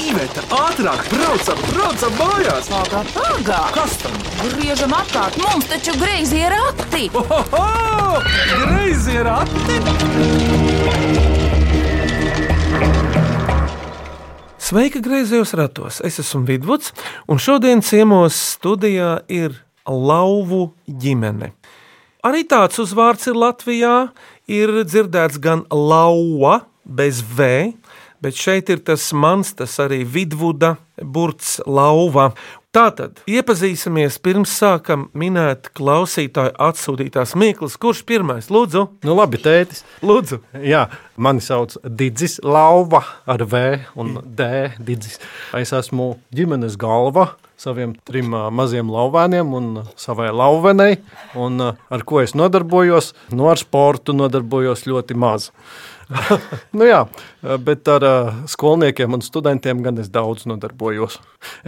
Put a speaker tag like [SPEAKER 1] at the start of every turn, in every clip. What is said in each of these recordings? [SPEAKER 1] Iveta, ātrāk, braucam, braucam mājās!
[SPEAKER 2] Pagā, pagā!
[SPEAKER 1] Kas tam?
[SPEAKER 2] Griežam apkārt, mums taču greizi ir akti!
[SPEAKER 3] Oh.
[SPEAKER 1] Ohoho! Greizi ir ati!
[SPEAKER 3] Sveika, grazējos ratos. Es esmu Vidvuds, un šodien ciemos studijā ir Lauvu ģimene. Arī tāds uzvārds ir Latvijā. Ir dzirdēts gan lauva, bez v, bet šeit ir tas mans, tas arī vidvuda burts lauva. Tātad iepazīsimies pirms sākam minēt klausītāju atsūtītās mīklas. Kurš pirmais? Lūdzu,
[SPEAKER 4] Nu, labi, tētis.
[SPEAKER 3] lūdzu.
[SPEAKER 4] Jā, mani sauc Digis Lauva ar V un D. Digis. Es esmu ģimenes galva saviem trim ā, maziem lauvēniem un savai lauvenei. Un, ā, ar ko es nodarbojos? No ar sportu nodarbojos ļoti maz. nu jā, bet ar ā, skolniekiem un studentiem gan es daudz nodarbojos.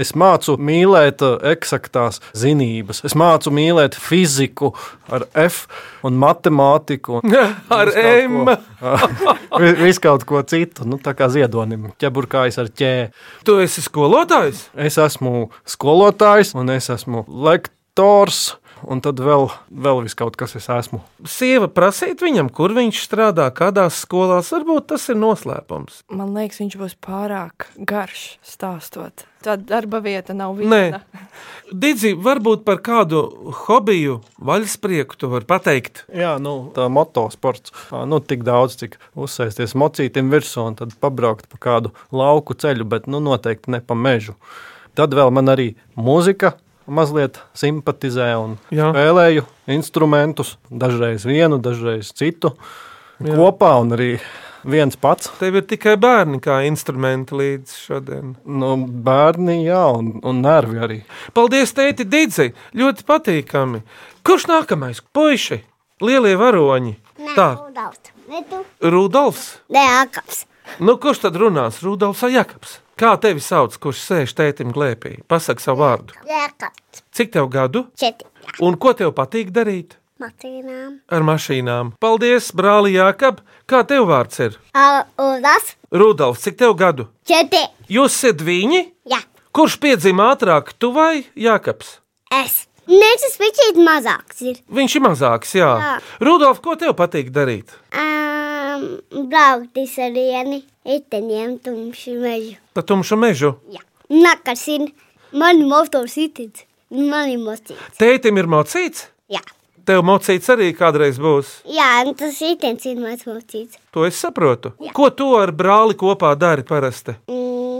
[SPEAKER 4] Es mācu mīlēt ā, eksaktās zinības. Es mācu mīlēt fiziku ar F un matemātiku. Un
[SPEAKER 3] Ar
[SPEAKER 4] Visu
[SPEAKER 3] M.
[SPEAKER 4] kaut ko. Vi- Visu kaut ko citu, nu, tā kā ziedonim, ķeburkājs ar ķē.
[SPEAKER 3] Tu esi skolotājs?
[SPEAKER 4] Es esmu skolotājs, un es esmu lektors, un tad vēl, vēl vis kaut kas es esmu.
[SPEAKER 3] sieva prasīt viņam, kur viņš strādā, kādās skolās. Varbūt tas ir noslēpums.
[SPEAKER 5] Man liekas, viņš būs pārāk garš stāstot. Tā darba vieta nav
[SPEAKER 3] Nē,
[SPEAKER 5] viena.
[SPEAKER 3] Digita, varbūt par kādu hobiju, vaļsprieku tu vari pateikt.
[SPEAKER 4] Jā, nu, tā motosports. ā, Nu, tik daudz, cik uzsēsties mocītam virsū un tad pabraukt pa kādu lauku ceļu, bet nu, noteikti ne pa mežu. Tad vēl man arī mūzika. Mazliet simpatizē un
[SPEAKER 3] Jā.
[SPEAKER 4] Jā. spēlēju instrumentus. Dažreiz vienu, dažreiz citu. Jā. Kopā un arī viens pats.
[SPEAKER 3] Tev ir tikai bērni kā instrumenti līdz šodien.
[SPEAKER 4] Nu, bērni, jā, un, un nervi arī.
[SPEAKER 3] Paldies, tēti, Digita. Ļoti patīkami. Kurš nākamais? Puiši, lielie varoņi.
[SPEAKER 6] Nē,
[SPEAKER 3] Tā,
[SPEAKER 6] Rudolfs. Ne tu?
[SPEAKER 3] Rudolfs.
[SPEAKER 6] Nē, Akaps.
[SPEAKER 3] Nu, kurš tad runās? Rudolfs vai Jakobs? Kā tevi sauc, kurš sēž tētim glēpī? Pasaki savu vārdu.
[SPEAKER 6] Jēkabs.
[SPEAKER 3] Cik tev gadu?
[SPEAKER 6] Četri.
[SPEAKER 3] Un ko tev patīk darīt?
[SPEAKER 6] Matīnām.
[SPEAKER 3] ar mašīnām. Paldies, brāli Jākab! Kā tev vārds ir?
[SPEAKER 6] Ulas.
[SPEAKER 3] Rudolf, cik tev gadu?
[SPEAKER 6] Četri.
[SPEAKER 3] Jūs esat viņi?
[SPEAKER 6] Jā.
[SPEAKER 3] Kurš piedzima ātrāk, tu vai Jākabs?
[SPEAKER 6] Es. Nē, tas pišķīt mazāks ir.
[SPEAKER 3] Viņš ir mazāks, jā. jā.
[SPEAKER 6] Jā.
[SPEAKER 3] Rudolf, ko tev patīk darīt?
[SPEAKER 6] Um, Brauktis ar vieni. Iteniem tumši mežu.
[SPEAKER 3] Pa tumšu mežu.
[SPEAKER 6] Jā. Nakarsin. Man motors itins. Man ir mocīts.
[SPEAKER 3] Tētim ir mocīts,
[SPEAKER 6] Jā.
[SPEAKER 3] tev mocīts arī kādreiz būs.
[SPEAKER 6] Jā, un tas itins ir mans mocīts.
[SPEAKER 3] To es saprotu. Jā. Ko tu ar brāli kopā dari parasti?
[SPEAKER 6] Mm.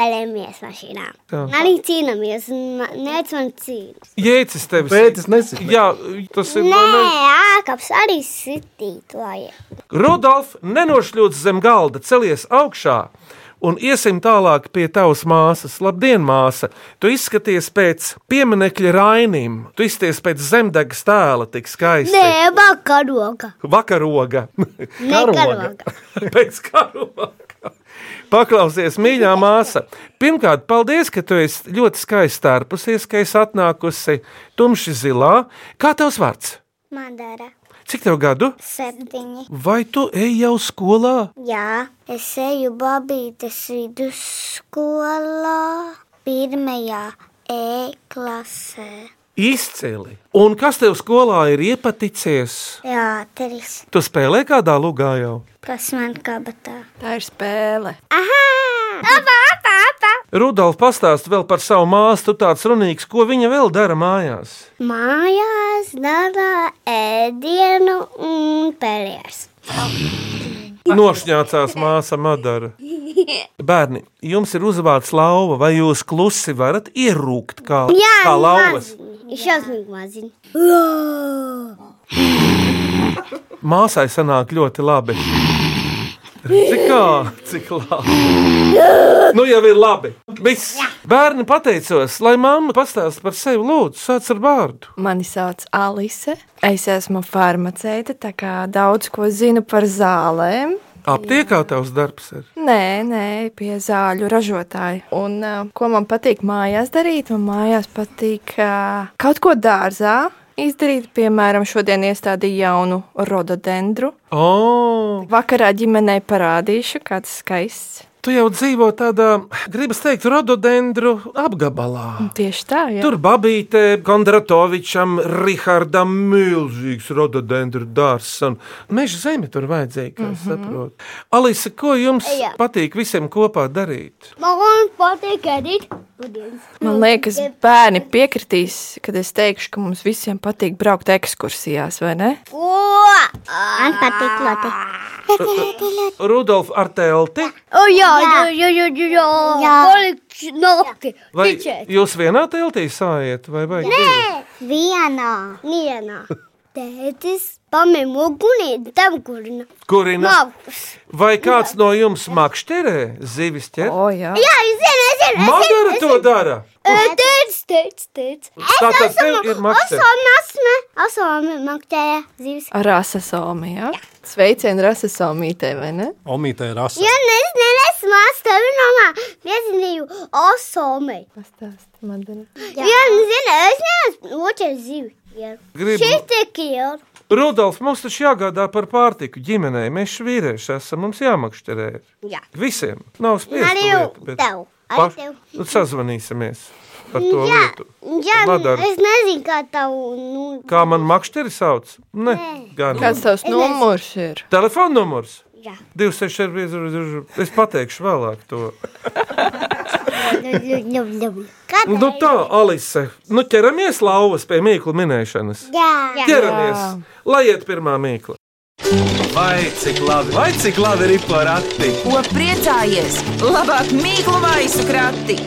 [SPEAKER 6] Pelēmies mašīnām.
[SPEAKER 3] Tā.
[SPEAKER 6] Arī cīnāmies. un ma- Nec man cīnās.
[SPEAKER 3] Jēcis tevis.
[SPEAKER 4] Pēc tam nesaku.
[SPEAKER 3] Jā, tas ir.
[SPEAKER 6] Nē, Akaps arī sitītoja.
[SPEAKER 3] Rudolf, nenošļūts zem galda, celies augšā un iesim tālāk pie tavas māsas. Labdien, māsa! Tu izskaties pēc pieminiekļa rainim, tu izskaties pēc zemdegas tēla, tik skaisti.
[SPEAKER 6] Nē, vakaroga.
[SPEAKER 3] Vakaroga,
[SPEAKER 6] Nē, karoga.
[SPEAKER 3] pēc karoga. Paklausies, mīļā māsa. Pirmkārt, paldies, ka tu esi ļoti skaisti stērpusies, ka esi atnākusi tumši zilā. Kā tavs vārds?
[SPEAKER 6] Madara.
[SPEAKER 3] Cik tev gadu?
[SPEAKER 6] Septiņi.
[SPEAKER 3] Vai tu ej jau skolā?
[SPEAKER 6] Jā, es eju Babītes vidusskolā, pirmajā E klasē.
[SPEAKER 3] Izcili. Un kas tev skolā ir iepaticies?
[SPEAKER 6] Teātris,
[SPEAKER 3] Tu spēlē kādā lugā jau.
[SPEAKER 6] kas man kabatā.
[SPEAKER 5] Tā ir spēle.
[SPEAKER 6] Aha! Apa, apa, apa!
[SPEAKER 3] Rudolf pastāst vēl par savu māsu, tu tāds runīgs, ko viņa vēl dara mājās.
[SPEAKER 6] Mājās dara ēdienu un pēries.
[SPEAKER 3] Nošņācās māsa Madara. Bērni, jums ir uzvārds lauva, vai jūs klusi varat ierūkt kā, kā lauvas?
[SPEAKER 6] maziņi. Šausmīgi maziņi.
[SPEAKER 3] Māsai sanāk ļoti labi. Cik, kā, cik labi. Nu, jau ir labi. Viss. Bērni pateicos, lai mamma pastāst par sevi. Lūdzu, sāc ar vārdu.
[SPEAKER 5] Mani sauc Alise. Es esmu farmaceite, tā kā daudz ko zinu par zālēm.
[SPEAKER 3] Aptiekā tavs darbs ir.
[SPEAKER 5] Nē, nē, pie zāļu ražotāja. Un uh, ko man patīk mājās darīt? Man mājās patīk uh, kaut ko dārzā izdarīt. Piemēram, šodien iestādīju jaunu rododendru.
[SPEAKER 3] Oh,
[SPEAKER 5] Vakarā ģimenei parādīšu, kāds skaists.
[SPEAKER 3] Tu jau dzīvo tādā, gribas teikt, rododendru apgabalā.
[SPEAKER 5] Tieši tā, jā.
[SPEAKER 3] Tur Babīte, Kondratovičam, Rihardam, milzīgs rododendru dārsts un meža zeme tur vajadzīga, kā mm
[SPEAKER 6] Mhm.
[SPEAKER 3] -hmm. saprot. Alisa, ko jums
[SPEAKER 6] Jā.
[SPEAKER 3] Jā. patīk visiem kopā darīt?
[SPEAKER 6] Man patīk ēdīt pudins.
[SPEAKER 5] Man liekas, bērni piekritīs, kad es teikšu, ka mums visiem patīk braukt ekskursijās, vai ne?
[SPEAKER 6] Ko? Man patīk ļoti.
[SPEAKER 3] Rudolf ar telti?
[SPEAKER 6] O, jā, jā, jā, jā, jā, jā. jā. Paliks noki.
[SPEAKER 3] Vai jūs vienā teltī sājiet vai vai? Nē!
[SPEAKER 6] Vienā. Vienā. Tētis pamēm ugunī, tam kurina.
[SPEAKER 3] Kurina?
[SPEAKER 6] Laukus.
[SPEAKER 3] Vai kāds no jums makšķerē zivis ķer?
[SPEAKER 5] O, jā.
[SPEAKER 6] Jā, es zinu, es zinu.
[SPEAKER 3] Madara to dara!
[SPEAKER 6] Eh, Tētis, tētis, tētis.
[SPEAKER 3] Tātad tev ir makšķerē.
[SPEAKER 6] esmu, esmu maktēja zīves.
[SPEAKER 5] Ar asasaumu, jā. Sveicienu rasasaumītē, vai ne?
[SPEAKER 4] Omīte ir asa.
[SPEAKER 6] Ja es neesmu astovi nomā, viezinīju osomei.
[SPEAKER 5] Pastāsti, Madara.
[SPEAKER 6] Vienu zinu, es neesmu otrs zīvi. Jā.
[SPEAKER 3] Gribu.
[SPEAKER 6] Šis tik ir.
[SPEAKER 3] Rudolf, mums taču jāgādā par pārtiku ģimenei. Mēs taču vīrieši esam, mums jāmakšķerē.
[SPEAKER 6] Jā.
[SPEAKER 3] Visiem nav
[SPEAKER 6] Arī
[SPEAKER 3] spēcīgi.
[SPEAKER 6] tev, arī tev.
[SPEAKER 3] Nu, sazvanīsimies par to
[SPEAKER 6] Jā,
[SPEAKER 3] lietu.
[SPEAKER 6] jā nu,
[SPEAKER 3] Madara.
[SPEAKER 6] es nezinu, kā tavu, nu,
[SPEAKER 3] Kā man makšķeri sauc? Ne, gan.
[SPEAKER 5] Kāds tavs numurs ir?
[SPEAKER 3] Telefona numurs.
[SPEAKER 6] jā.
[SPEAKER 3] 264, es pateikšu vēlāk to.
[SPEAKER 6] Kā tev?
[SPEAKER 3] Nu tā, Alise, nu ķeramies lauvas pie mīklu minēšanas.
[SPEAKER 6] Jā.
[SPEAKER 3] Ķeramies, lai iet pirmā mīkla.
[SPEAKER 1] Vai cik labi, vai cik labi ir porakti?
[SPEAKER 2] Ko priecājies? Labāk mīklu maisu krati.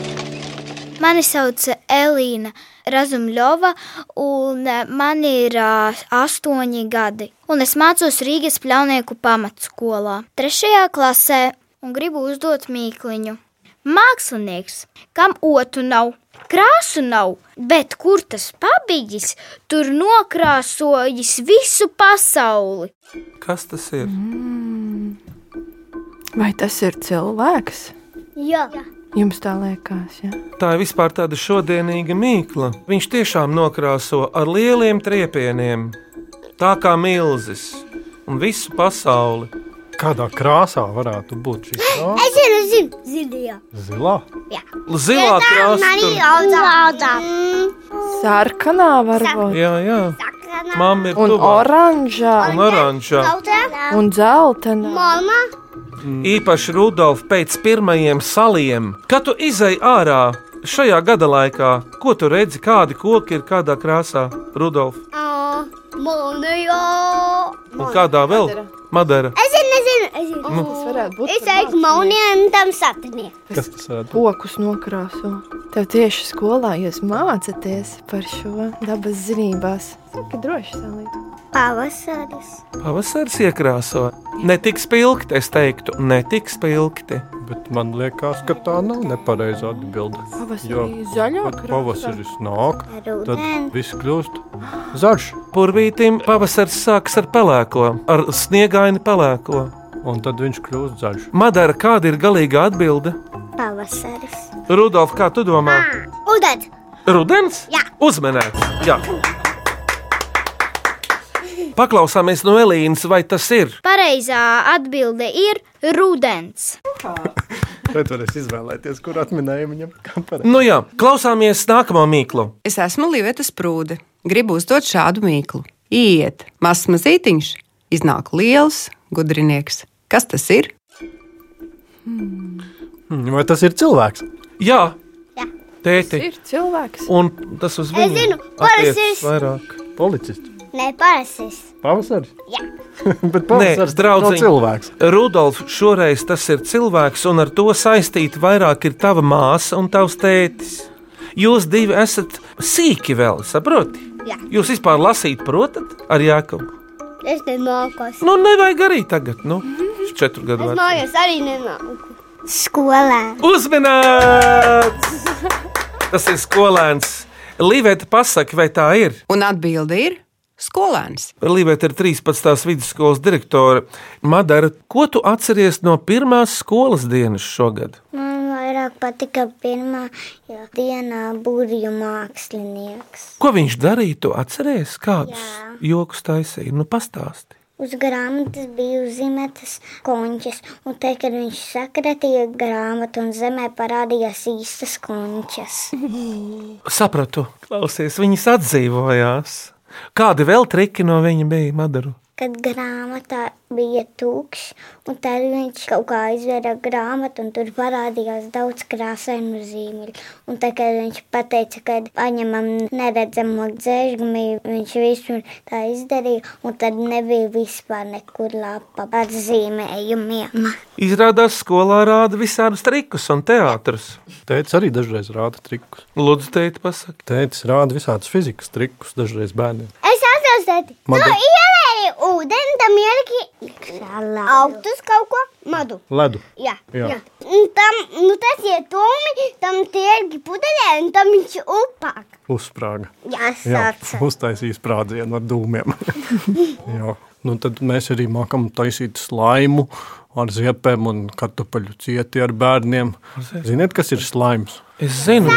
[SPEAKER 7] Mani sauc Elīna Razumļova, un eh, man ir ā, astoņi gadi. Un es mācos Rīgas pļaunieku pamatskolā, trešajā klasē, un gribu uzdot mīkliņu. Mākslinieks, kam otru nav, krāsu nav, bet kur tas pabijis, tur nokrāsojis visu pasauli.
[SPEAKER 3] Kas tas ir?
[SPEAKER 5] Vai tas ir cilvēks?
[SPEAKER 6] Jā.
[SPEAKER 5] Jums tā liekas, jā.
[SPEAKER 3] Tā ir vispār tāda šodienīga mīkla. Viņš tiešām nokrāso ar lieliem triepieniem, tā kā milzis un visu pasauli.
[SPEAKER 4] Kādā krāsā varētu būt šī krāsa?
[SPEAKER 6] Es zinu, es zinu. Zinu, jā.
[SPEAKER 4] Zilā.
[SPEAKER 3] Zilā krāsa. tur-
[SPEAKER 6] Laudā. Mm,
[SPEAKER 5] Sarkanā varbūt.
[SPEAKER 3] Jā, jā. Mamma ir
[SPEAKER 5] Un
[SPEAKER 3] tuvāk.
[SPEAKER 5] oranžā.
[SPEAKER 3] Un oranžā.
[SPEAKER 6] Laudā.
[SPEAKER 5] Un zeltainā.
[SPEAKER 6] Mamma.
[SPEAKER 3] Īpaši Rudolf pēc pirmajiem saliem, kad tu izai ārā šajā gada laikā, ko tu redzi, kādi koki ir kādā krāsā, Rudolf,
[SPEAKER 6] Mamma, jā.
[SPEAKER 3] un kādā vēl? Madara.
[SPEAKER 6] Es zinu, es zinu. Es zinu.
[SPEAKER 5] Tas varētu būt
[SPEAKER 6] Es teiktu, maunienam tam sapnī.
[SPEAKER 4] Kas tas ir?
[SPEAKER 5] pokus nokrāso. Tev tieši skolā jūs mācāties par šo dabas zinībās. Saka, droši salīt.
[SPEAKER 6] Pavasaris.
[SPEAKER 3] Pavasaris iekrāso. Ne tik spilgti, es teiktu, ne tik spilgti.
[SPEAKER 4] Bet man liekas, ka tā nav nepareizā atbilde.
[SPEAKER 5] Pavasarī
[SPEAKER 4] Jo,
[SPEAKER 5] zaļā
[SPEAKER 4] kad
[SPEAKER 5] krāsā.
[SPEAKER 4] Pavasaris nāk,
[SPEAKER 6] Rudens.
[SPEAKER 4] tad viss kļūst zaļš.
[SPEAKER 3] Purvītim pavasaris sākas ar pelēko, ar sniegaini pelēko.
[SPEAKER 4] Un tad viņš kļūst zaļš.
[SPEAKER 3] Madara, kāda ir galīga atbilde?
[SPEAKER 6] Pavasaris.
[SPEAKER 3] Rudolf, kā tu domā?
[SPEAKER 6] Udens.
[SPEAKER 3] Rudens?
[SPEAKER 6] Jā.
[SPEAKER 3] Uzmanēts! Jā. Paklausāmies no Elīnas, vai tas ir?
[SPEAKER 7] Pareizā atbilde ir rudens.
[SPEAKER 4] Tad varēs izvēlēties, kur atminējumu viņam kamerā.
[SPEAKER 3] Nu jā, klausāmies nākamo mīklu.
[SPEAKER 8] Es esmu Līveta Sprūde. Gribu uzdot šādu mīklu. Iet, mazs mazītiņš, iznāk liels gudrinieks. Kas tas ir?
[SPEAKER 4] Hmm, Vai tas ir cilvēks?
[SPEAKER 3] Jā,
[SPEAKER 6] Jā.
[SPEAKER 3] tēti.
[SPEAKER 5] Ir cilvēks.
[SPEAKER 3] Un tas uz
[SPEAKER 6] Es
[SPEAKER 3] viņu
[SPEAKER 6] zinu, pavasaris.
[SPEAKER 3] attiecas vairāk.
[SPEAKER 4] Policists.
[SPEAKER 6] Nē, pavasaris.
[SPEAKER 4] Pavasaris?
[SPEAKER 6] Jā.
[SPEAKER 4] Bet
[SPEAKER 3] Nē,
[SPEAKER 4] pavasaris nav
[SPEAKER 3] draudziņ.
[SPEAKER 4] cilvēks.
[SPEAKER 3] Rudolf, šoreiz tas ir cilvēks, un ar to saistīta vairāk ir tava māsa un tavs tētis. Jūs divi esat sīki vēl, saproti?
[SPEAKER 6] Jā.
[SPEAKER 3] Jūs vispār lasīt, protat, ar Jākubu?
[SPEAKER 6] Es nemākos.
[SPEAKER 3] Nu, nevajag arī tagad, nu, viņš četru gadu
[SPEAKER 6] Mhm. Es
[SPEAKER 3] vecums.
[SPEAKER 6] mājās arī nemāku. Skolā.
[SPEAKER 3] Uzmanīts! Tas ir skolēns. Līvēta pasaka, vai tā ir?
[SPEAKER 8] Un atbilde ir skolēns.
[SPEAKER 3] Līvēta ir 13. vidusskolas direktore. Madara, ko tu atceries no pirmās skolas dienas šogad?
[SPEAKER 6] Man vairāk patika pirmā jo dienā būrju mākslinieks.
[SPEAKER 3] Ko viņš darīja? Tu atceries, kādus
[SPEAKER 6] Jā.
[SPEAKER 3] joks taisīja? Nu, pastāsti.
[SPEAKER 6] Uz grāmatas bija uzzīmētas končas, un te, kad viņš sakratīja grāmatu un zemē parādījās īstas končas.
[SPEAKER 3] Sapratu, klausies, viņas atdzīvojās. Kādi vēl triki no viņa bija Madaru?
[SPEAKER 6] Kad grāmatā bija tūkšs, un tad viņš kaut kā izvēra grāmatu, un tur parādījās daudz krāsainu zīmīļu. Un tad, kad viņš pateica, ka paņemam neredzamo dzēržgumi, viņš visu tā izdarīja, un tad nebija vispār nekur lapa ar zīmējumiem.
[SPEAKER 3] Izrādās skolā rāda visādus trikus un teātrus.
[SPEAKER 4] Tēvs arī dažreiz rāda trikus.
[SPEAKER 3] Lūdzu, teikt, pasaki.
[SPEAKER 4] Tēvs rāda visādus fizikas trikus dažreiz bērniem.
[SPEAKER 9] Es atceros, ka
[SPEAKER 4] Madu.
[SPEAKER 9] tu ielēji ūdeni, tam ieliki augtus kaut ko madu.
[SPEAKER 4] Ledu.
[SPEAKER 9] Jā,
[SPEAKER 4] Jā.
[SPEAKER 9] jā. Un Tam, nu, tas ir tūmi, tam tie ir pudelē, un tam viņš upāk.
[SPEAKER 4] Uzsprāga.
[SPEAKER 9] Jā,
[SPEAKER 4] Jā,
[SPEAKER 9] sāc.
[SPEAKER 4] uztaisīja sprādzienu ar dūmiem. Jā. nu, tad mēs arī mākam taisīt slaimu ar ziepēm un kartupeļu cieti ar bērniem. Ziniet, kas ir slaims?
[SPEAKER 3] Es zinu,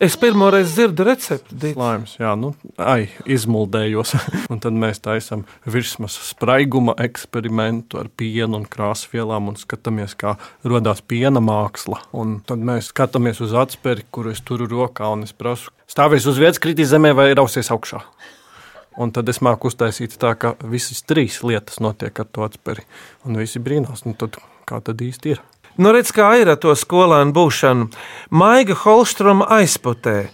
[SPEAKER 3] es pirmo reizi dzirdu recepti. Dīt.
[SPEAKER 4] Slaims, jā, nu, ai, izmuldējos. un tad mēs taisām virsmas spraiguma eksperimentu ar pienu un krāsvielām un skatāmies, kā radās piena māksla. Un tad mēs skatāmies uz atspēri, kuru es turu rokā un es prasu, stāvies uz vietas, kritīs zemē vai rausies augšā. Un tad es māku uztaisīt tā, ka visas trīs lietas notiek ar to atspēri. Un visi brīnās, nu tad kā tad īsti ir?
[SPEAKER 3] Nu, redz, kā ir ar to skolēnu būšanu. Maiga Holstroma aizputē.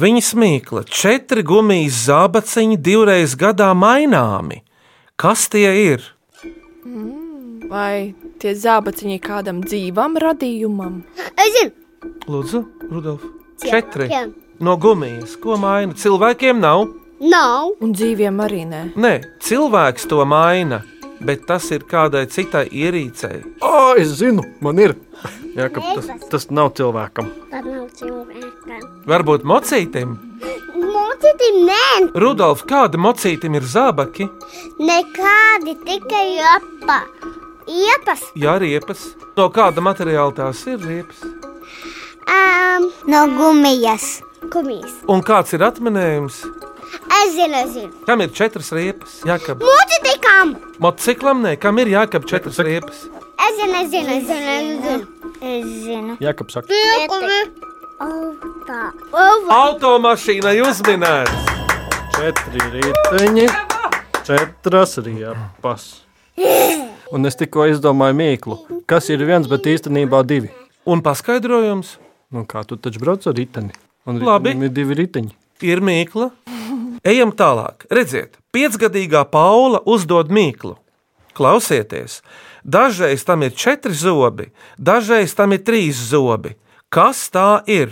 [SPEAKER 3] Viņa smīkla, četri gumijas zābaciņi divreiz gadā maināmi. Kas tie ir?
[SPEAKER 5] Vai tie zābaciņi ir kādam dzīvam radījumam?
[SPEAKER 9] Es zinu,
[SPEAKER 3] Lūdzu, Rudolf. Četri
[SPEAKER 9] Cilvēkiem.
[SPEAKER 3] no gumijas, ko maina. Cilvēkiem nav.
[SPEAKER 9] nav.
[SPEAKER 5] Un dzīviem arī nē.
[SPEAKER 3] Nē, cilvēks to maina, bet tas ir kādai citai ierīcei.
[SPEAKER 4] Ā, es zinu, man ir. Jā, ka tas, tas nav cilvēkam.
[SPEAKER 6] Tad nav cilvēka.
[SPEAKER 3] Varbūt mocītim.
[SPEAKER 9] Mūcīti nē,
[SPEAKER 3] Rudolf, kāda mocītim ir zābaki?
[SPEAKER 9] nekādi tikai apa. Iepas.
[SPEAKER 3] Jā, riepas. No kāda materiāla tās ir riepas?
[SPEAKER 9] Um, no gumijas. Gumijas.
[SPEAKER 3] Un kāds ir atminējums?
[SPEAKER 9] Es zinu, es zinu.
[SPEAKER 3] Kam ir četras riepas? Jākab.
[SPEAKER 9] Mūcīti kam?
[SPEAKER 3] Motociklam nē, kam ir jākab četras riepas?
[SPEAKER 9] Es zinu, es zinu, es zinu. Es zinu. Es zinu.
[SPEAKER 4] Jā, ka saka.
[SPEAKER 9] Piekumi.
[SPEAKER 6] Autā.
[SPEAKER 3] Automašīna jūs minējāt!
[SPEAKER 4] Četri riteņi, četras riepas. Un es tikko izdomāju mīklu, kas ir viens, bet īstenībā divi.
[SPEAKER 3] Un paskaidrojums
[SPEAKER 4] Nu, kā tu taču brauc ar riteni? Un
[SPEAKER 3] Labi.
[SPEAKER 4] ritenim ir divi riteņi.
[SPEAKER 3] ir mīkla. Ejam tālāk. Redziet, piecgadīgā Paula uzdod mīklu. Klausieties, dažreiz tam ir četri zobi, dažreiz tam ir trīs zobi. Kas tā ir?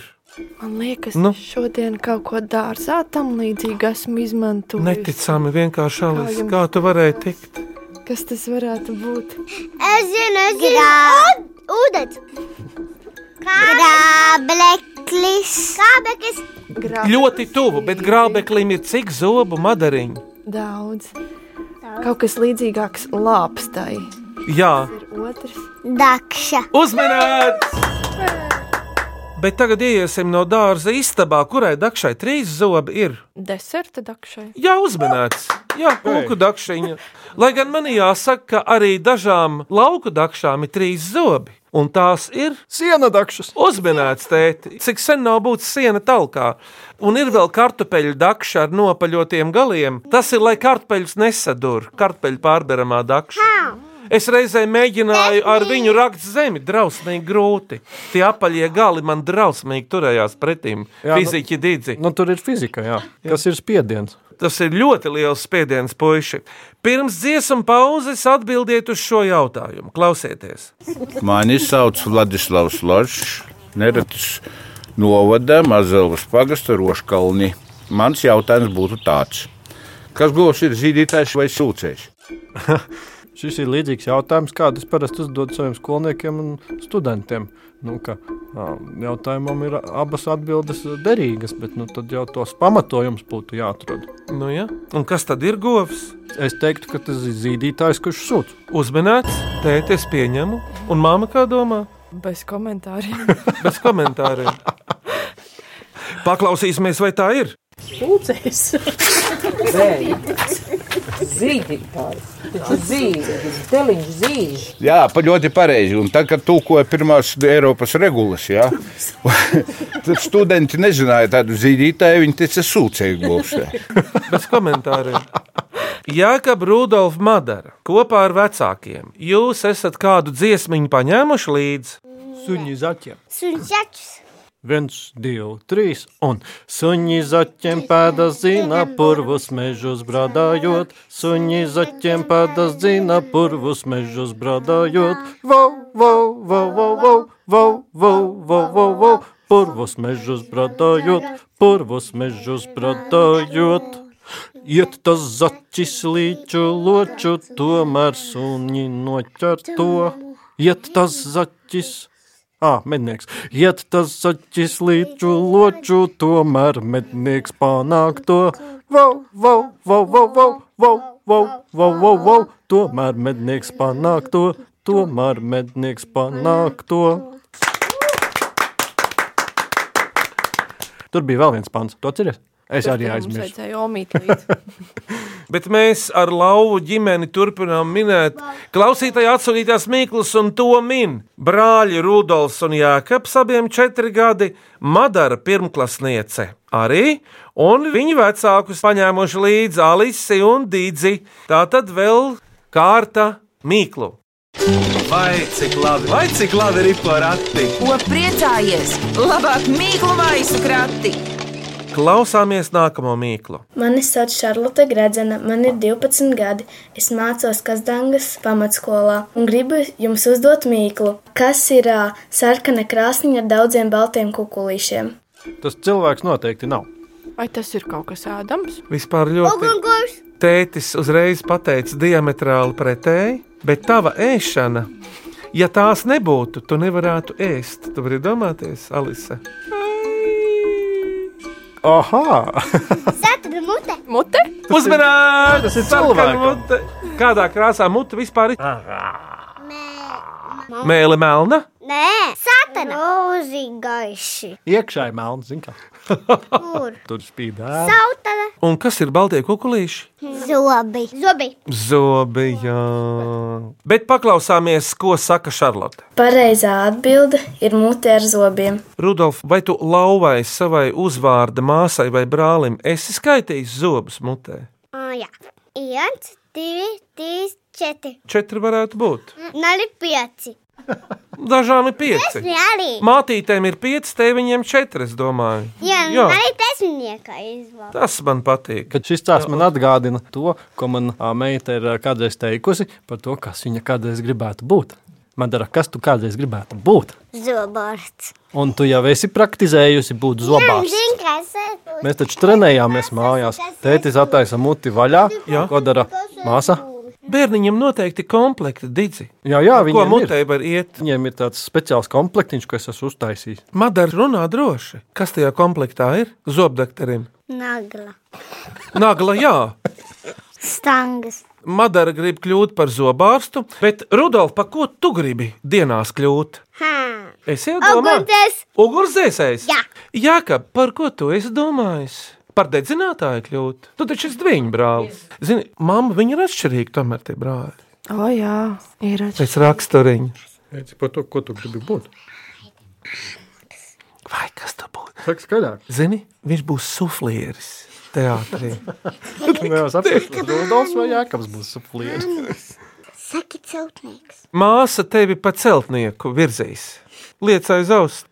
[SPEAKER 5] Man liekas,
[SPEAKER 3] Nu?
[SPEAKER 5] nu? šodien kaut ko dārzā tam līdzīgi esmu izmantojis.
[SPEAKER 3] Neticami vienkārši alis.
[SPEAKER 5] Kā jums
[SPEAKER 3] Kā tu varēji tikt?
[SPEAKER 5] Kas tas varētu būt?
[SPEAKER 9] Es zinu, es zinu. Ūdens. Grābeklis. Grābeklis.
[SPEAKER 5] Grāmatā
[SPEAKER 3] Ļoti tuvu, bet grābeklim ir cik zobu madariņu?
[SPEAKER 5] daudz. Kaut kas līdzīgāks lāpstai.
[SPEAKER 3] Jā,
[SPEAKER 5] Ir otrs.
[SPEAKER 9] Dakša.
[SPEAKER 3] uzmanīts! Bet tagad iesim no dārza istabā, kurai dakšai trīs zobi ir.
[SPEAKER 5] Deserta dakšai.
[SPEAKER 3] Jā, uzmanīts. Jā, puiku dakšiņa. Lai gan man jāsaka, ka arī dažām lauku dakšām ir trīs zobi. Un tās ir
[SPEAKER 4] Siena dakšas.
[SPEAKER 3] uzmanīts, tēti, cik sen nav būtis siena talkā. Un ir vēl kartupeļu dakša ar nopaļotiem galiem. Tas ir, lai kartupeļus nesadur, kartupeļu pārberamā dakša. Es reizē mēģināju ar viņu rakt zemi, drausmīgi grūti. Tie apaļie gali man drausmīgi turējās pretim.
[SPEAKER 4] Jā, nu-
[SPEAKER 3] Fiziķi dīdzi.
[SPEAKER 4] Nu, tur ir fizika, jā. Kas ir spiediens?
[SPEAKER 3] Tas ir ļoti liels spiediens, puiši. Pirms dziesmu pauzes atbildiet uz šo jautājumu. Klausieties,
[SPEAKER 10] Mani sauc Vladislavs Lorčs, Neretas novada Mazelas pagasta Roškalni. Mans jautājums būtu tāds. Kas govs ir zīdītājs vai sūcējs?
[SPEAKER 4] Šis ir līdzīgs jautājums, kādu es parasti uzdodu saviem skolniekiem un studentiem. Nu, ka, ā, jautājumam ir abas atbildes derīgas, bet nu, tad jau tos pamatojums būtu jāatrod.
[SPEAKER 3] nu, ja? un kas tad ir govs?
[SPEAKER 4] Es teiktu, ka tas ir zīdītājs, kurš sūta.
[SPEAKER 3] Uzmanīts, tēti, es pieņemu, un māma kā domā,
[SPEAKER 5] Bez komentāriem.
[SPEAKER 3] bez komentāriem. Paklausīsimies, vai tā ir.
[SPEAKER 8] Zīdītājs. Taču zīd, deliņš zīd.
[SPEAKER 10] Jā, pa ļoti pareizi. Un tad, kad tulkoja pirmās Eiropas regulas, jā, tad studenti nezināja tādu zīdītāju, viņi teica, sūcēji būs.
[SPEAKER 3] bez komentāriem. Jākab Rudolf Madara kopā ar vecākiem. Jūs esat kādu dziesmiņu paņēmuši līdzi?
[SPEAKER 4] Suņi zaķiem.
[SPEAKER 6] Suns jačs.
[SPEAKER 4] Viens, divi, trīs. Un suņi zaķiem pēdas zina purvus mežus bradājot. Suņi zaķiem pēdas zina purvus mežus bradājot. Vau, vau, vau, vau, vau, vau, vau, vau, vau, vau. Purvus mežus bradājot, purvus mežus bradājot. Iet tas zaķis līču loču, tomēr suņi noķer to. Iet tas zaķis, ah, mednieks. Iet tas zaķis līču loču, tomēr mednieks panāk to. Vau, vau, vau, vau, vau, vau, vau, vau, vau, vau, tomēr mednieks panāk to. Tomēr mednieks panāk to. Tur bija vēl viens pants. Tu atceries? Es arī
[SPEAKER 5] Mums
[SPEAKER 4] aizmirsu.
[SPEAKER 5] vajadzēja omīt līdzi.
[SPEAKER 3] Bet mēs ar lauvu ģimeni turpinām minēt klausītāju atsūtītās Mīklas un to min. Brāļi Rudolfs un Jākaps abiem četri gadi, Madara pirmklasniece arī, un viņu vecākus paņēmuši līdzi Alisi un Dīdzi. Tā tad vēl kārta Mīklu.
[SPEAKER 11] Vai cik labi, vai cik labi ir porakti?
[SPEAKER 8] Ko priecājies? Labāk mīklu maisu krati.
[SPEAKER 3] Klausāmies nākamo Mīklu.
[SPEAKER 12] Mani sauc Šarlote Gradzena, man ir 12 gadi. Es mācos Kazdangas pamatskolā un gribu jums uzdot mīklu. Kas ir ā, sarkana krāsniņa ar daudziem baltiem kukulīšiem?
[SPEAKER 4] Tas cilvēks noteikti nav.
[SPEAKER 5] Vai tas ir kaut kas ēdams?
[SPEAKER 3] Vispār ļoti
[SPEAKER 6] Ugunsgrēks.
[SPEAKER 3] Tētis uzreiz pateica diametrāli pretēji, bet tava ēšana, ja tās nebūtu, tu nevarētu ēst. Tu vari domāties, Alise.
[SPEAKER 4] Aha!
[SPEAKER 6] Satura mute.
[SPEAKER 5] Mute?
[SPEAKER 3] Uzmanīgi!
[SPEAKER 4] tas ir cilvēkam.
[SPEAKER 3] mute! Kādā krāsā mute vispār ir? Mēle melna.
[SPEAKER 6] Nē, satana. Rozi gaiši.
[SPEAKER 4] Iekšā ir melns, zināms,
[SPEAKER 6] Kur?
[SPEAKER 4] tur spīd ēna.
[SPEAKER 6] Sautana.
[SPEAKER 3] Un kas ir baltie kukulīši?
[SPEAKER 6] Zobi. Zobi.
[SPEAKER 3] Zobi, jā. Bet paklausāmies, ko saka Šarlote.
[SPEAKER 12] Pareizā atbilde ir mute ar zobiem.
[SPEAKER 3] Rudolf, vai tu lauvai savai uzvārda māsai vai brālim esi skaitījis zobus mutē?
[SPEAKER 6] Ah, jā. Viens, divi, trīs, četri.
[SPEAKER 3] Četri varētu būt.
[SPEAKER 6] Nali pieci.
[SPEAKER 3] Dažām ir pieci.
[SPEAKER 6] Desmit arī.
[SPEAKER 3] Mātītēm ir pieci, tēviņiem četri. Es domāju,
[SPEAKER 6] Jā,
[SPEAKER 3] Jā.
[SPEAKER 6] arī desmitniekā izvēlēt.
[SPEAKER 3] tas man patīk.
[SPEAKER 4] Kad šis tās man atgādina to, ko man ā, meita ir ā, kādreiz teikusi par to, kas viņa kādreiz gribētu būt. Madara, kas tu kādreiz gribētu būt?
[SPEAKER 6] Zobārts.
[SPEAKER 4] Un tu jau esi praktizējusi būt zobārs.
[SPEAKER 6] Zini, kā es esmu.
[SPEAKER 4] Mēs taču trenējāmies mājās. Tētis attaisa muti vaļā. Jā. Ko dara māsa?
[SPEAKER 3] Bērniņam noteikti ir komplekti dizi.
[SPEAKER 4] Jā, jā
[SPEAKER 3] Ko
[SPEAKER 4] viņiem ir.
[SPEAKER 3] mutē var iet?
[SPEAKER 4] Viņiem ir tāds speciāls komplektiņš, ko es esmu uztaisījis.
[SPEAKER 3] Madara runā droši. Kas tajā komplektā ir? Zobdakterim.
[SPEAKER 6] Nagla.
[SPEAKER 3] Nagla, jā.
[SPEAKER 6] Stangas.
[SPEAKER 3] Madara grib kļūt par zobārstu, bet Rudolf, pa ko tu gribi dienās kļūt?
[SPEAKER 6] Ha.
[SPEAKER 3] Es jau domāju,
[SPEAKER 6] Ugunsgrēks.
[SPEAKER 3] ugunsdzēsējs.
[SPEAKER 6] Jā.
[SPEAKER 3] jā, ka par ko tu esi domājis? Par dedzinātāju kļūt. Tu taču esi divi brāli. Zini, mamma, viņi ir atšķirīgi tomēr tie brāļi.
[SPEAKER 5] O, jā, ir atšķirīgi.
[SPEAKER 3] Pēc raksturiņa.
[SPEAKER 4] Teici par to, ko tu gribi būt.
[SPEAKER 3] Vai kas tu būtu?
[SPEAKER 4] Saka skaļāk.
[SPEAKER 3] Zini, viņš būs suflieris teātrī.
[SPEAKER 4] Jā, sapratu. Rudolfs vai Jākabs būs suplīgs.
[SPEAKER 6] Saki celtnieks.
[SPEAKER 3] Māsa tevi pa celtnieku virzīs. Liecai zaust.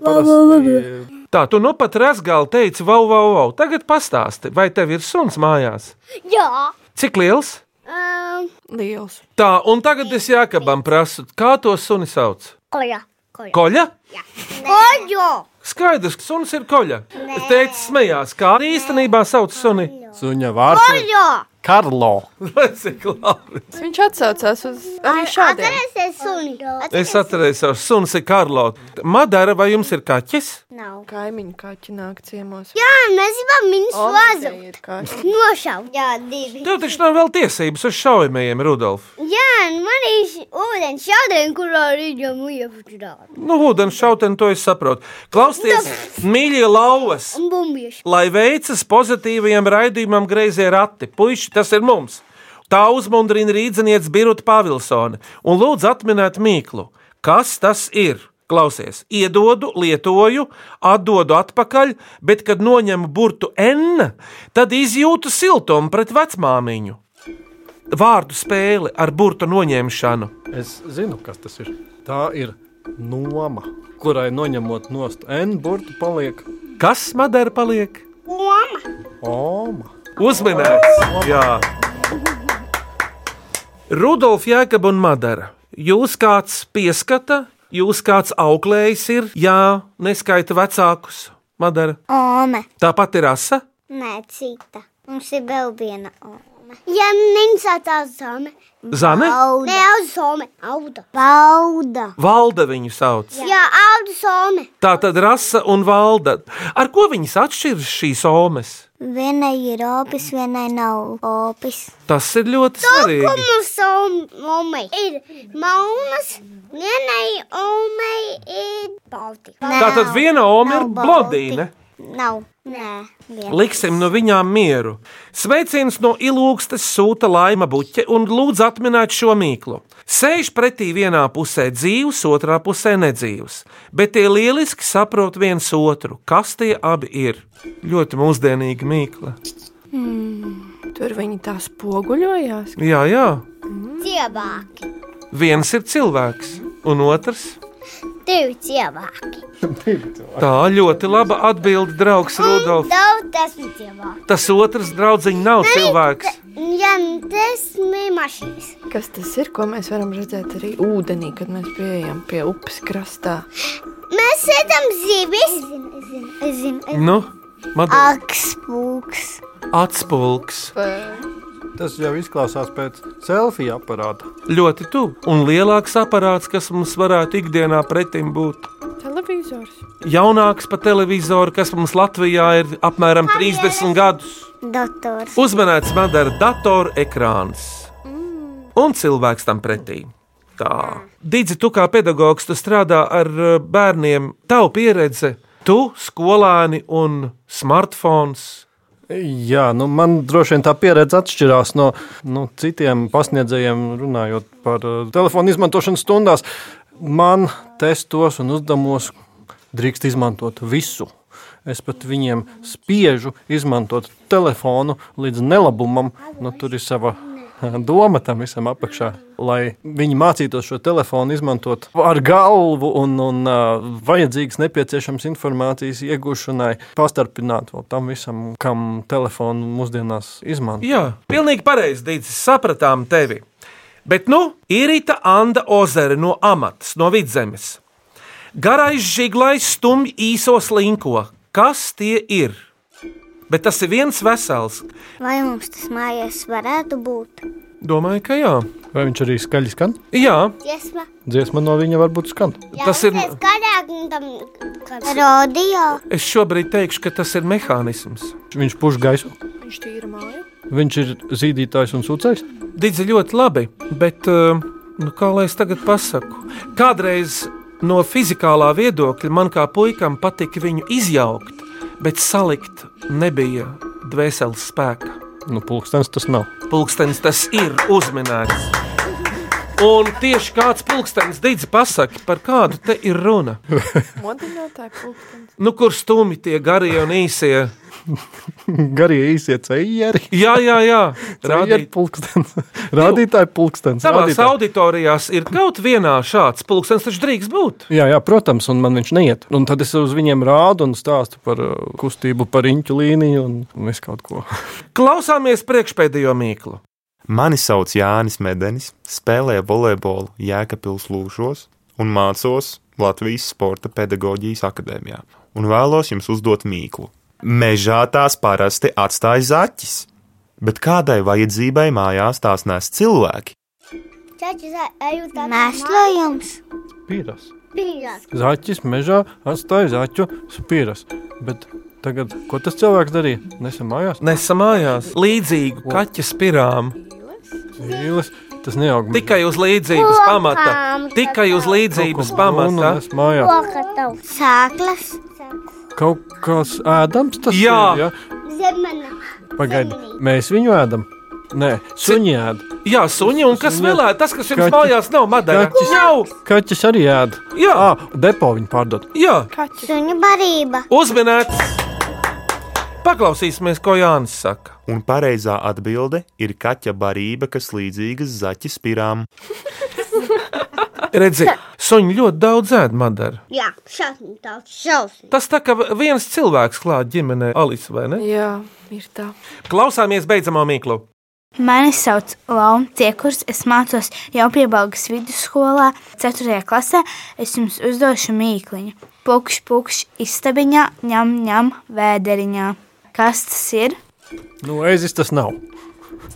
[SPEAKER 3] Tā, tu nu pat rasgāli teici, vau, vau, vau. Tagad pastāsti, vai tev ir suns mājās?
[SPEAKER 6] Jā.
[SPEAKER 3] Cik liels?
[SPEAKER 6] Um,
[SPEAKER 5] Liels.
[SPEAKER 3] Tā, un tagad es Jākabam prasu, kā to suni sauc?
[SPEAKER 6] koja. Koja.
[SPEAKER 3] Koļa?
[SPEAKER 6] Koja.
[SPEAKER 3] Skaidrs, ka suns ir koļa. Es teicu, smējās, kā īstenībā sauc suni.
[SPEAKER 4] Suņa vārds ir
[SPEAKER 6] Koja.
[SPEAKER 4] Karlo.
[SPEAKER 3] Vai cik labi?
[SPEAKER 5] Viņš atsaucās uz arī šādiem.
[SPEAKER 6] Atcerēsies suni.
[SPEAKER 3] Es atcerēšos, suns ir Karlo. Madara, vai jums ir kaķis?
[SPEAKER 6] Nav.
[SPEAKER 5] Kaimiņu kaķi nāk ciemos.
[SPEAKER 6] Jā, mēs gribam viņu
[SPEAKER 5] Olītei
[SPEAKER 6] svāzu.
[SPEAKER 5] ir kaķi.
[SPEAKER 6] Nošaut. Jā, divi.
[SPEAKER 3] Tev taču nav vēl tiesības uz šaujamajiem, Rudolf.
[SPEAKER 6] Jā, un man ir šī ūdens šodien, kurā rītā mūja putrāt.
[SPEAKER 3] Nu, ūdens šauteni to es saprotu. Klausieties, mīļie lauvas!
[SPEAKER 6] Un bumbieši.
[SPEAKER 3] Lai veicas pozitīvajam raidījumam, grazē rati. Puisši, tas ir mums! Tā uzmundrina rīzniece Birta Pāvilsone un lūdzu atminēt mīklu. Kas tas ir? Klausies, iedodu, lietoju, atdodu atpakaļ, bet, kad noņemu burtu N, tad izjūtu siltumu pret vecmāmiņu. Vārdu spēle ar burtu noņemšanu.
[SPEAKER 4] Es zinu, kas tas ir. Tā ir noma, kurai noņemot nost N burtu, paliek
[SPEAKER 3] Kas madara paliek?
[SPEAKER 4] oma.
[SPEAKER 3] Uzminēts! Jā. Rudolf, Jēkab un Madara, jūs kāds pieskata, jūs kāds auklējs ir, jā, neskaita vecākus. Madara,
[SPEAKER 6] Ome.
[SPEAKER 3] tāpat ir asa.
[SPEAKER 6] Nē, cita. Mums ir vēl viena ome. Ja nesācā zeme.
[SPEAKER 3] Zame?
[SPEAKER 6] Auda. Ne, auda zome. Auda. Valda.
[SPEAKER 3] Valda viņu sauc.
[SPEAKER 6] Jā, auda zome.
[SPEAKER 3] Tā tad rasa un valda. Ar ko viņas atšķiras šīs omes?
[SPEAKER 6] Vienai ir opis, vienai nav opis.
[SPEAKER 3] Tas ir ļoti
[SPEAKER 6] Ko
[SPEAKER 3] svarīgi.
[SPEAKER 6] mums omei ir maunas, vienai omei ir balti.
[SPEAKER 3] Tā tad viena ome ir
[SPEAKER 6] Nav balti.
[SPEAKER 3] blondīne.
[SPEAKER 6] Nav. Nē, viena.
[SPEAKER 3] Liksim no viņām mieru. Sveiciens no ilūgstes sūta laima buķe un lūdzu atminēt šo mīklu. Sēž pretī vienā pusē dzīves, otrā pusē nedzīves, bet tie lieliski saprot viens otru, kas tie abi ir. Ļoti mūsdienīga mīkla.
[SPEAKER 5] Tur viņi tā spoguļojās.
[SPEAKER 3] Jā, jā,
[SPEAKER 6] Cievāki.
[SPEAKER 3] viens ir cilvēks, un otrs
[SPEAKER 6] Divi cievāki.
[SPEAKER 3] - tā ļoti laba atbilde, draugs Rudolf.
[SPEAKER 6] Daudz desmit cievāki.
[SPEAKER 3] Tas otrs draudziņš nav cilvēks.
[SPEAKER 6] Jā, desmit mašīnas.
[SPEAKER 5] Kas tas ir, ko mēs varam redzēt arī ūdenī, kad mēs pieejam pie upes krastā?
[SPEAKER 6] Mēs redzam zivis. Es zinu, es zinu.
[SPEAKER 3] Nu, Madara,
[SPEAKER 6] Akspūks.
[SPEAKER 3] atspulgs.
[SPEAKER 4] Tas jau izklausās pēc selfija aparāta.
[SPEAKER 3] Ļoti tuvu. Un lielāks aparāts, kas mums varētu ikdienā pretim būt.
[SPEAKER 5] Televizors.
[SPEAKER 3] Jaunāks par televizoru, kas mums Latvijā ir apmēram 30 gadus.
[SPEAKER 6] Dators.
[SPEAKER 3] Uzmanēts madara datora ekrāns. Un cilvēks tam pretī. Tā. Dīdzi, tu kā pedagogs, tu strādā ar eh, bērniem. Tava pieredze, tu, skolēni un smartphones.
[SPEAKER 4] Jā, nu man droši vien tā pieredze atšķirās no nu, citiem pasniedzējiem, runājot par eh, telefonu izmantošanu stundās. Man testos un uzdevumos drīkst izmantot visu. Es pat viņiem spiežu izmantot telefonu līdz nelabumam. Nu, tur ir sava eh, doma tam visam apakšā. Lai viņi mācītos šo telefonu izmantot ar galvu un, un uh, vajadzīgas nepieciešamas informācijas iegūšanai, pastarpināt vēl tam visam, kam telefonu mūsdienās izmanto.
[SPEAKER 3] Jā, pilnīgi pareizi, Dīdzi, sapratām tevi. Bet nu ir Rīta Anna Ozere no Amatas, no Vidzemes. Garais žiglais stumj īsos linko. Kas tie ir? Bet tas ir viens vesels.
[SPEAKER 6] Vai mums tas mājās varētu būt?
[SPEAKER 3] Domāju, ka jā.
[SPEAKER 4] Vai viņš arī skaļi skan?
[SPEAKER 3] Jā,
[SPEAKER 6] Dziesma.
[SPEAKER 4] Dziesma no viņa varbūt skan.
[SPEAKER 3] tas ir.
[SPEAKER 6] skaļāk, un tam radio.
[SPEAKER 3] Es šobrīd teikšu, ka tas ir mehānisms.
[SPEAKER 4] Viņš puš gaisu,
[SPEAKER 5] Viņš tīra māju.
[SPEAKER 4] viņš ir zīdītājs un sūcējs.
[SPEAKER 3] Dīdze ļoti labi, bet eh, nu, kā lai es tagad pasaku? Kādreiz no fizikālā viedokļa man kā puikam patika viņu izjaukt, bet salikt nebija dvēseles spēka.
[SPEAKER 4] Nu, pulkstenis tas nav.
[SPEAKER 3] Pulkstenis tas ir uzminēts. Un tieši kāds pulkstenis Dīdze pasaka, par kādu te ir runa?
[SPEAKER 5] Modinātāji pulkstenis.
[SPEAKER 3] Nu, kur stūmi tie garie un īsie?
[SPEAKER 4] Garie īsie ceļi.
[SPEAKER 3] Jā, jā, jā.
[SPEAKER 4] Rādīt...
[SPEAKER 3] Rādīt.
[SPEAKER 4] Rādītāji pulkstenis.
[SPEAKER 3] Savās
[SPEAKER 4] rādītāji.
[SPEAKER 3] auditorijās ir kaut vienā šāds pulkstenis, taču drīkst būt.
[SPEAKER 4] Jā, jā, protams, un man viņš neiet. Un tad es uz viņiem rādu un stāstu par uh, kustību, par īņķu līniju un visu kaut ko.
[SPEAKER 3] Klausāmies priekšpēdējo mīklu.
[SPEAKER 13] Mani sauc Jānis Medenis, spēlēju volejbolu Jēkabils Lūšos un mācos Latvijas Sporta pedagoģijas akadēmijā. Un vēlos jums uzdot mīklu. Mežā tās parasti atstāj zaķis, bet kādai vajadzībai mājās tās nes cilvēki?
[SPEAKER 6] Čači, eju tādā. Mēslojums.
[SPEAKER 4] Spīras.
[SPEAKER 6] Pīļās.
[SPEAKER 4] Zaķis mežā atstāja zaķu spīras. Bet tagad, ko tas cilvēks darīja? Nesam mājās.
[SPEAKER 3] Nesa mājās līdzīgu kaķa spirām.
[SPEAKER 4] Mīles, tas neaug.
[SPEAKER 3] Tikai uz līdzības pamata. Tikai uz līdzības pamata.
[SPEAKER 4] Tas mājās.
[SPEAKER 6] Koka tev. Sāklas.
[SPEAKER 4] Kaut kas ēdams tas
[SPEAKER 3] Jā.
[SPEAKER 4] ir. Ja?
[SPEAKER 6] Zemena.
[SPEAKER 4] Pagaidi, mēs viņu ēdam. Nē, suņi ēd.
[SPEAKER 3] Jā, suņi un kas
[SPEAKER 4] Suņi.
[SPEAKER 3] vēl ēd? Tas, kas jums
[SPEAKER 4] Kaķi.
[SPEAKER 3] mājās nav, Madara.
[SPEAKER 4] Kaķis.
[SPEAKER 3] Jau!
[SPEAKER 4] Kaķis arī ēd.
[SPEAKER 3] Jā,
[SPEAKER 4] à, depo viņi pārdod.
[SPEAKER 3] Jā,
[SPEAKER 6] Suņu barība.
[SPEAKER 3] uzminēts! Paklausīsimies, ko Jānis saka.
[SPEAKER 13] Un pareizā atbilde ir kaķa barība, kas līdzīga zaķa spirām.
[SPEAKER 3] Redzi, suņi ļoti daudz ēd, Madara.
[SPEAKER 9] Jā, šausmīgi daudz. Šausmīgi.
[SPEAKER 3] Tas tā kā viens cilvēks klāt ģimenē, Alisa, vai ne?
[SPEAKER 5] Jā, ir tā.
[SPEAKER 3] Klausāmies beidzamo mīklu.
[SPEAKER 12] Mani sauc Launa Ciekurs, es mācos jau piebalgas vidusskolā, 4. klasē. Es jums uzdošu mīkliņu. Pukš, pukš, istabiņā, ņem, ņem, vēderiņā. Kas tas ir?
[SPEAKER 4] Nu, eizis tas nav.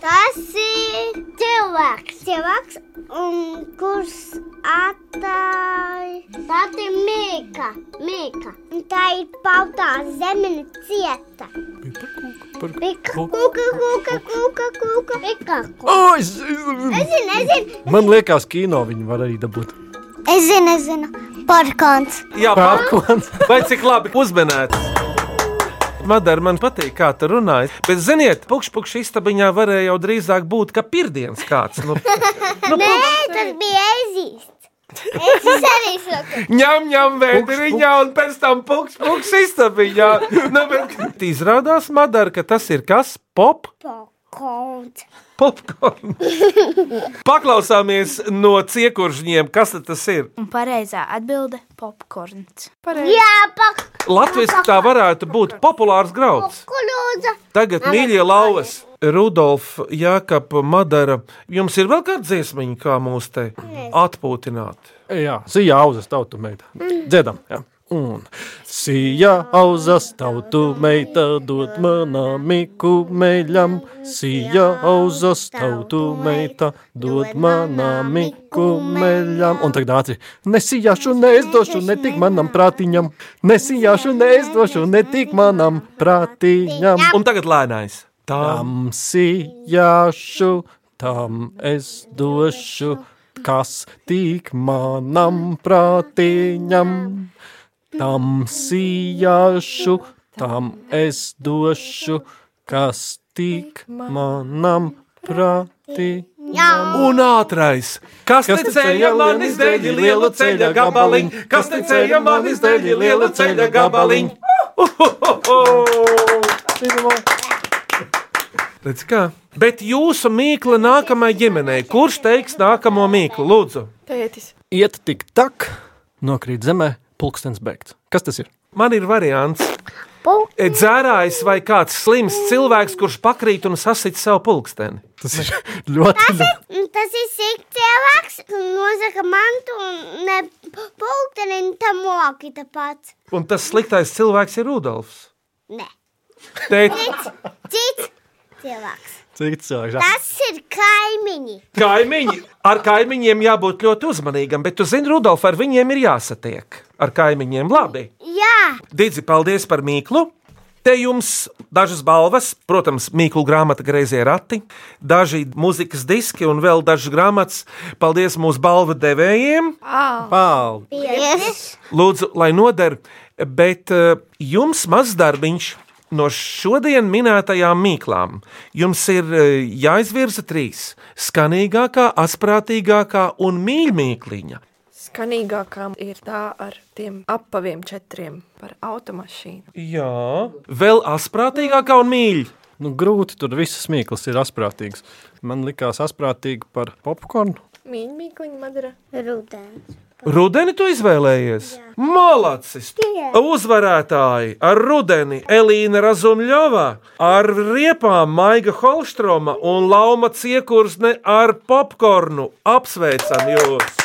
[SPEAKER 9] Tas ir cilvēks. Cilvēks, un kurš atāja. Tā ir mīka, mīka. Un tā ir pautā zemene cieta. Pika, kuka, kuka, kuka, kuka, pika.
[SPEAKER 4] O, es- es-
[SPEAKER 9] Es zinu, es zinu,
[SPEAKER 4] Man liekas, kino viņi var arī dabūt.
[SPEAKER 9] es zinu, es zinu. Parkons.
[SPEAKER 3] Jā, pārklāts. Vai cik labi uzmanēts? Madara, man patīk, kā tu runā. Bet, ziniet, pukšpukšu istabiņā varēja jau drīzāk būt kā pirmdienas kāds. Nu,
[SPEAKER 9] Nē, tas bija ezīsts. Es arī saku.
[SPEAKER 3] ņem, ņem, vēdriņā un pēc tam pukšpukšu istabiņā. Nu, bet izrādās, Madara, ka tas ir kas? Pop?
[SPEAKER 9] Kaut.
[SPEAKER 3] Popcorn. Paklausāmies no ciekuržņiem, kas tad tas ir.
[SPEAKER 12] Un pareizā atbilde - popkorns.
[SPEAKER 9] Jā, pak.
[SPEAKER 3] Latvijas tā varētu būt populārs grauds.
[SPEAKER 9] Kulūdza.
[SPEAKER 3] Tagad, mīļie lauvas, Rudolf, Jākapa, Madara, jums ir vēl kāda dziesmiņa, kā mūs te atpūtināt?
[SPEAKER 4] E, Jā, sija auzas tautu meita. Dziedam, jā. Un sija auzas tautu meita dod manam miku meļam. Sija auzas tautu meita dod manam miku meļam. Un tagad nāci. Nesijāšu, neizdošu, ne tik manam prātiņam. Nesijāšu, neizdošu, ne tik manam prātiņam.
[SPEAKER 3] Un tagad lēnais.
[SPEAKER 4] Tam sijāšu, tam es došu, kas tik manam prātiņam. Tam sijāšu, tam es došu, kas tik manam prātiņam.
[SPEAKER 3] Un ātrais. Kas
[SPEAKER 4] Kas
[SPEAKER 3] te ceļā man izdeļi lielu ceļa gabaliņu? Kas te ceļā man izdeļi lielu ceļa gabaliņu? Redz kā. Bet jūsu mīkla nākamajai ģimenei. Kurš teiks nākamo mīklu? Lūdzu.
[SPEAKER 5] Tētis.
[SPEAKER 4] Iet tik tak, nokrīt zemē, pulkstens beigts. Kas tas ir?
[SPEAKER 3] Man ir variants. E, Dzērājs vai kāds slims cilvēks, kurš pakrīt un sasit sev pulksteni.
[SPEAKER 4] Tas ir ļoti
[SPEAKER 9] Tas ir, tas ir sīkts cilvēks, kas nozaka mantu un ne pulkteni un tam oki tāpats.
[SPEAKER 3] Un tas sliktais cilvēks ir Rudolfs.
[SPEAKER 9] Nē.
[SPEAKER 3] Teikt,
[SPEAKER 9] Cits, cits cilvēks.
[SPEAKER 4] Cik cilvēks?
[SPEAKER 9] Tas ir kaimiņi.
[SPEAKER 3] kaimiņi. Ar kaimiņiem jābūt ļoti uzmanīgam, bet tu zini, Rudolf, ar viņiem ir jāsatiek. Ar kaimiņiem labi.
[SPEAKER 9] Jā,
[SPEAKER 3] Didzi, paldies par mīklu! Te jums dažas balvas, protams, Mīklu grāmata, grazījā rati, daži mūzikas diski un vēl dažas grāmatas. Paldies mūsu balvu devējiem! Paldies!
[SPEAKER 9] piecas.
[SPEAKER 3] Lūdzu, lai noder, bet eh, jums mazdarbiņš no šodien minētajām mīklām. Jums ir eh, jāizvirza trīs - skanīgākā, asprātīgākā un mīļākā.
[SPEAKER 5] Skanīgākām ir tā ar tiem apaviem četriem par automašīnu.
[SPEAKER 3] Jā, vēl asprātīgākā un mīļākā.
[SPEAKER 4] Nu, grūti tur viss mīklas ir asprātīgs. Man likās asprātīgi par popkornu.
[SPEAKER 5] Mīļmīkliņa madara.
[SPEAKER 9] Rudens.
[SPEAKER 3] Rudeni tu izvēlējies? Malacis!
[SPEAKER 9] Jā.
[SPEAKER 3] Uzvarētāji ar rudeni Elīna Razumļovā, ar riepām Maiga Holstroma un Lauma Ciekursne ar popkornu. Apsveicam jūs!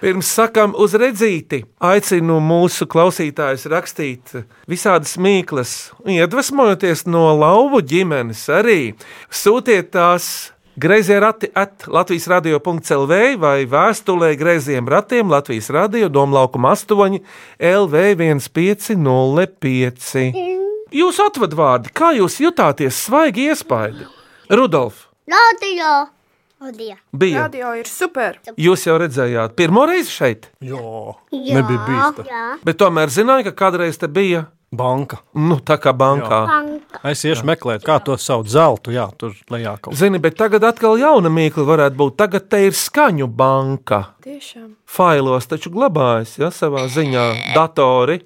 [SPEAKER 3] Pirms sakām uz redzīti, aicinu mūsu klausītājus rakstīt visādas mīklas, iedvesmojoties no lauvu ģimenes arī. Sūtiet tās grazījā rati at Latvijas radio.clv vai vēstulē grazījiem ratiem Latvijas radio Domlaukuma 8 LV1505. Jūsu atvadvārdi, kā jūs jutāties, svaigi iespaidi? Rudolf,
[SPEAKER 9] Radio. Radio.
[SPEAKER 3] bija.
[SPEAKER 5] ir super.
[SPEAKER 3] Jūs jau redzējāt, pirmo reizi šeit?
[SPEAKER 4] Jā,
[SPEAKER 9] Jā,
[SPEAKER 4] nebija bīsta.
[SPEAKER 9] jā.
[SPEAKER 3] Bet tomēr zināja, ka kādreiz te bija
[SPEAKER 4] Banka.
[SPEAKER 3] Nu, tā kā bankā.
[SPEAKER 4] Banka. Es iešu meklēt, kā to sauc zeltu. Jā, tur lejā kaut kas.
[SPEAKER 3] Zini, bet tagad atkal jauna mīkla varētu būt. Tagad te ir skaņu banka.
[SPEAKER 5] Tiešām.
[SPEAKER 3] Failos taču glabājas, ja savā ziņā datori.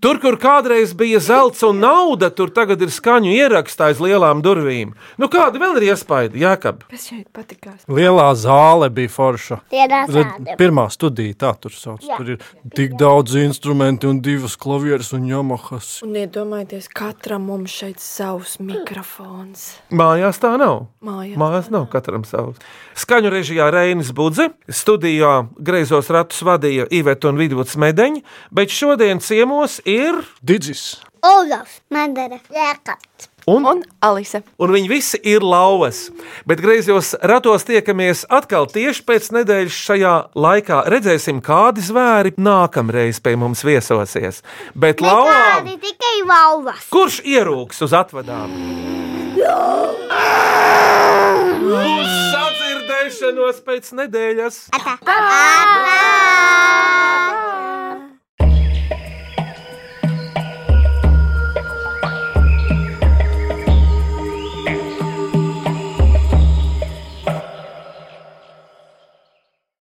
[SPEAKER 3] Tur, kur kādreiz bija zelts un nauda, tur tagad ir skaņu ierakstā aiz lielām durvīm. Nu, kāda vēl ir iespaida, Jākab?
[SPEAKER 5] Es jau patikās.
[SPEAKER 4] Lielā zāle bija forša.
[SPEAKER 5] Tie ir
[SPEAKER 4] Re-
[SPEAKER 5] tādi.
[SPEAKER 4] Pirmā studija, tā tur sauc.
[SPEAKER 5] Jā.
[SPEAKER 4] Tur ir tik daudz instrumentu, un divas klavieres un jamahas.
[SPEAKER 5] Un iedomājieties, katram mums šeit savs mikrofons.
[SPEAKER 3] Mājās tā nav.
[SPEAKER 5] Mājās
[SPEAKER 3] Mājās nav katram savs. Skaņu režijā Reinis Budze, studijā greizos ratus vadīja Iveta un Vidvuds Medeņa, bet šodien ciemos ir
[SPEAKER 4] Digis.
[SPEAKER 6] Olaf, Madara, Jēkabs.
[SPEAKER 3] Un,
[SPEAKER 5] un Alise.
[SPEAKER 3] Un viņi visi ir lauvas. Bet griezos ratos tiekamies atkal tieši pēc nedēļas šajā laikā. Redzēsim, kādi zvēri nākamreiz pie mums viesosies. Bet lauvā,
[SPEAKER 9] Tādi tikai
[SPEAKER 6] oh,
[SPEAKER 9] vauvas.
[SPEAKER 3] kurš ierūks uz atvadām? Nu, Uz sadzirdēšanos pēc nedēļas!
[SPEAKER 9] Ā!